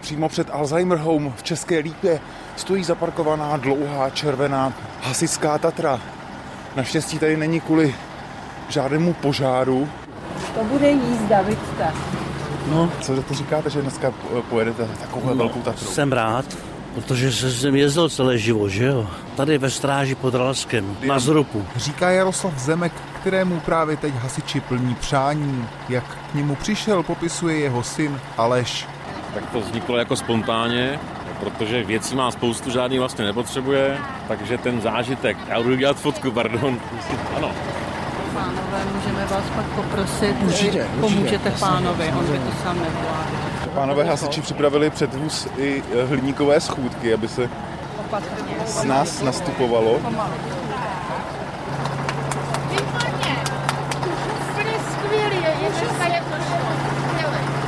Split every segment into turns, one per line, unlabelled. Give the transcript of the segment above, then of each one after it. Přímo před Alzheimer Home v České Lípě stojí zaparkovaná dlouhá červená hasická Tatra. Naštěstí tady není kvůli žádnému požáru.
To bude jízda, vidíte.
No. Co to říkáte, že dneska eh, pojedete takovou
No.
velkou Tatrou?
Jsem rád, protože se- jsem jezdil celý život, že jo? Tady ve stráži pod Ralskem, na Zrupu.
Říká Jaroslav Zemek, kterému právě teď hasiči plní přání. Jak k němu přišel, popisuje jeho syn Aleš.
Tak to vzniklo jako spontánně, protože věcí má spoustu, žádný vlastně nepotřebuje, takže ten zážitek, já budu dělat fotku, pardon. Ano,
Pánové, můžeme vás pak poprosit,
Určitě,
eh,
určitě.
pomůžete pánovi, on by to sám nezvládl.
Pánové hasiči připravili předvůz i eh, hliníkové schůdky, aby se
Opatrně.
z nás nastupovalo.
Výborně! Úplně skvělý, je to jak to šlo.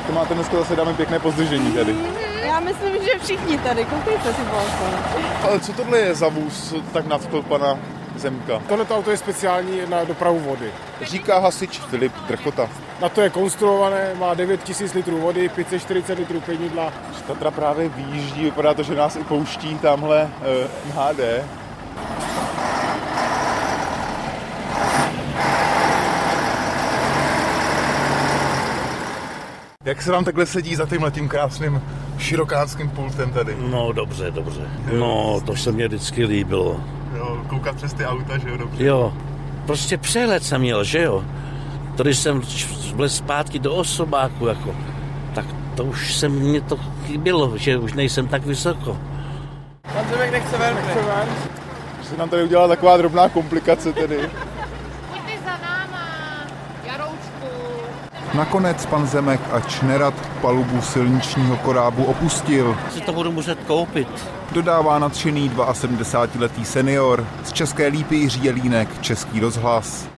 To máte dneska zase dáme pěkné pozdržení tady.
Já myslím, že všichni tady, koukejte si balkon.
Ale co tohle je za vůz tak nadchl pana Zemka?
Tohle auto je speciální na dopravu vody.
Říká hasič Filip Drchota.
Na to je konstruované, má 9000 litrů vody, 540 litrů pěnidla.
Tatra právě výjíždí, vypadá to, že nás i pouští tamhle eh, MHD. Jak se vám takhle sedí za tímhle tím krásným širokánským pultem tady?
No dobře, dobře. No, to se mně vždycky líbilo.
Jo, koukat přes ty auta, že jo, dobře.
Jo, prostě přehled jsem měl, že jo? Tady jsem č- byl zpátky do osobáku, jako. Tak to už se mně to chybilo, že už nejsem tak vysoko.
Se nám tady udělala taková drobná komplikace tedy.
Pojďte za náma, Jaroučku.
Nakonec pan Zemek, ač nerad, palubu silničního korábu opustil.
Si to budu muset koupit.
Dodává nadšený 72-letý senior. Z České lípy Jiří Jelínek, Český rozhlas.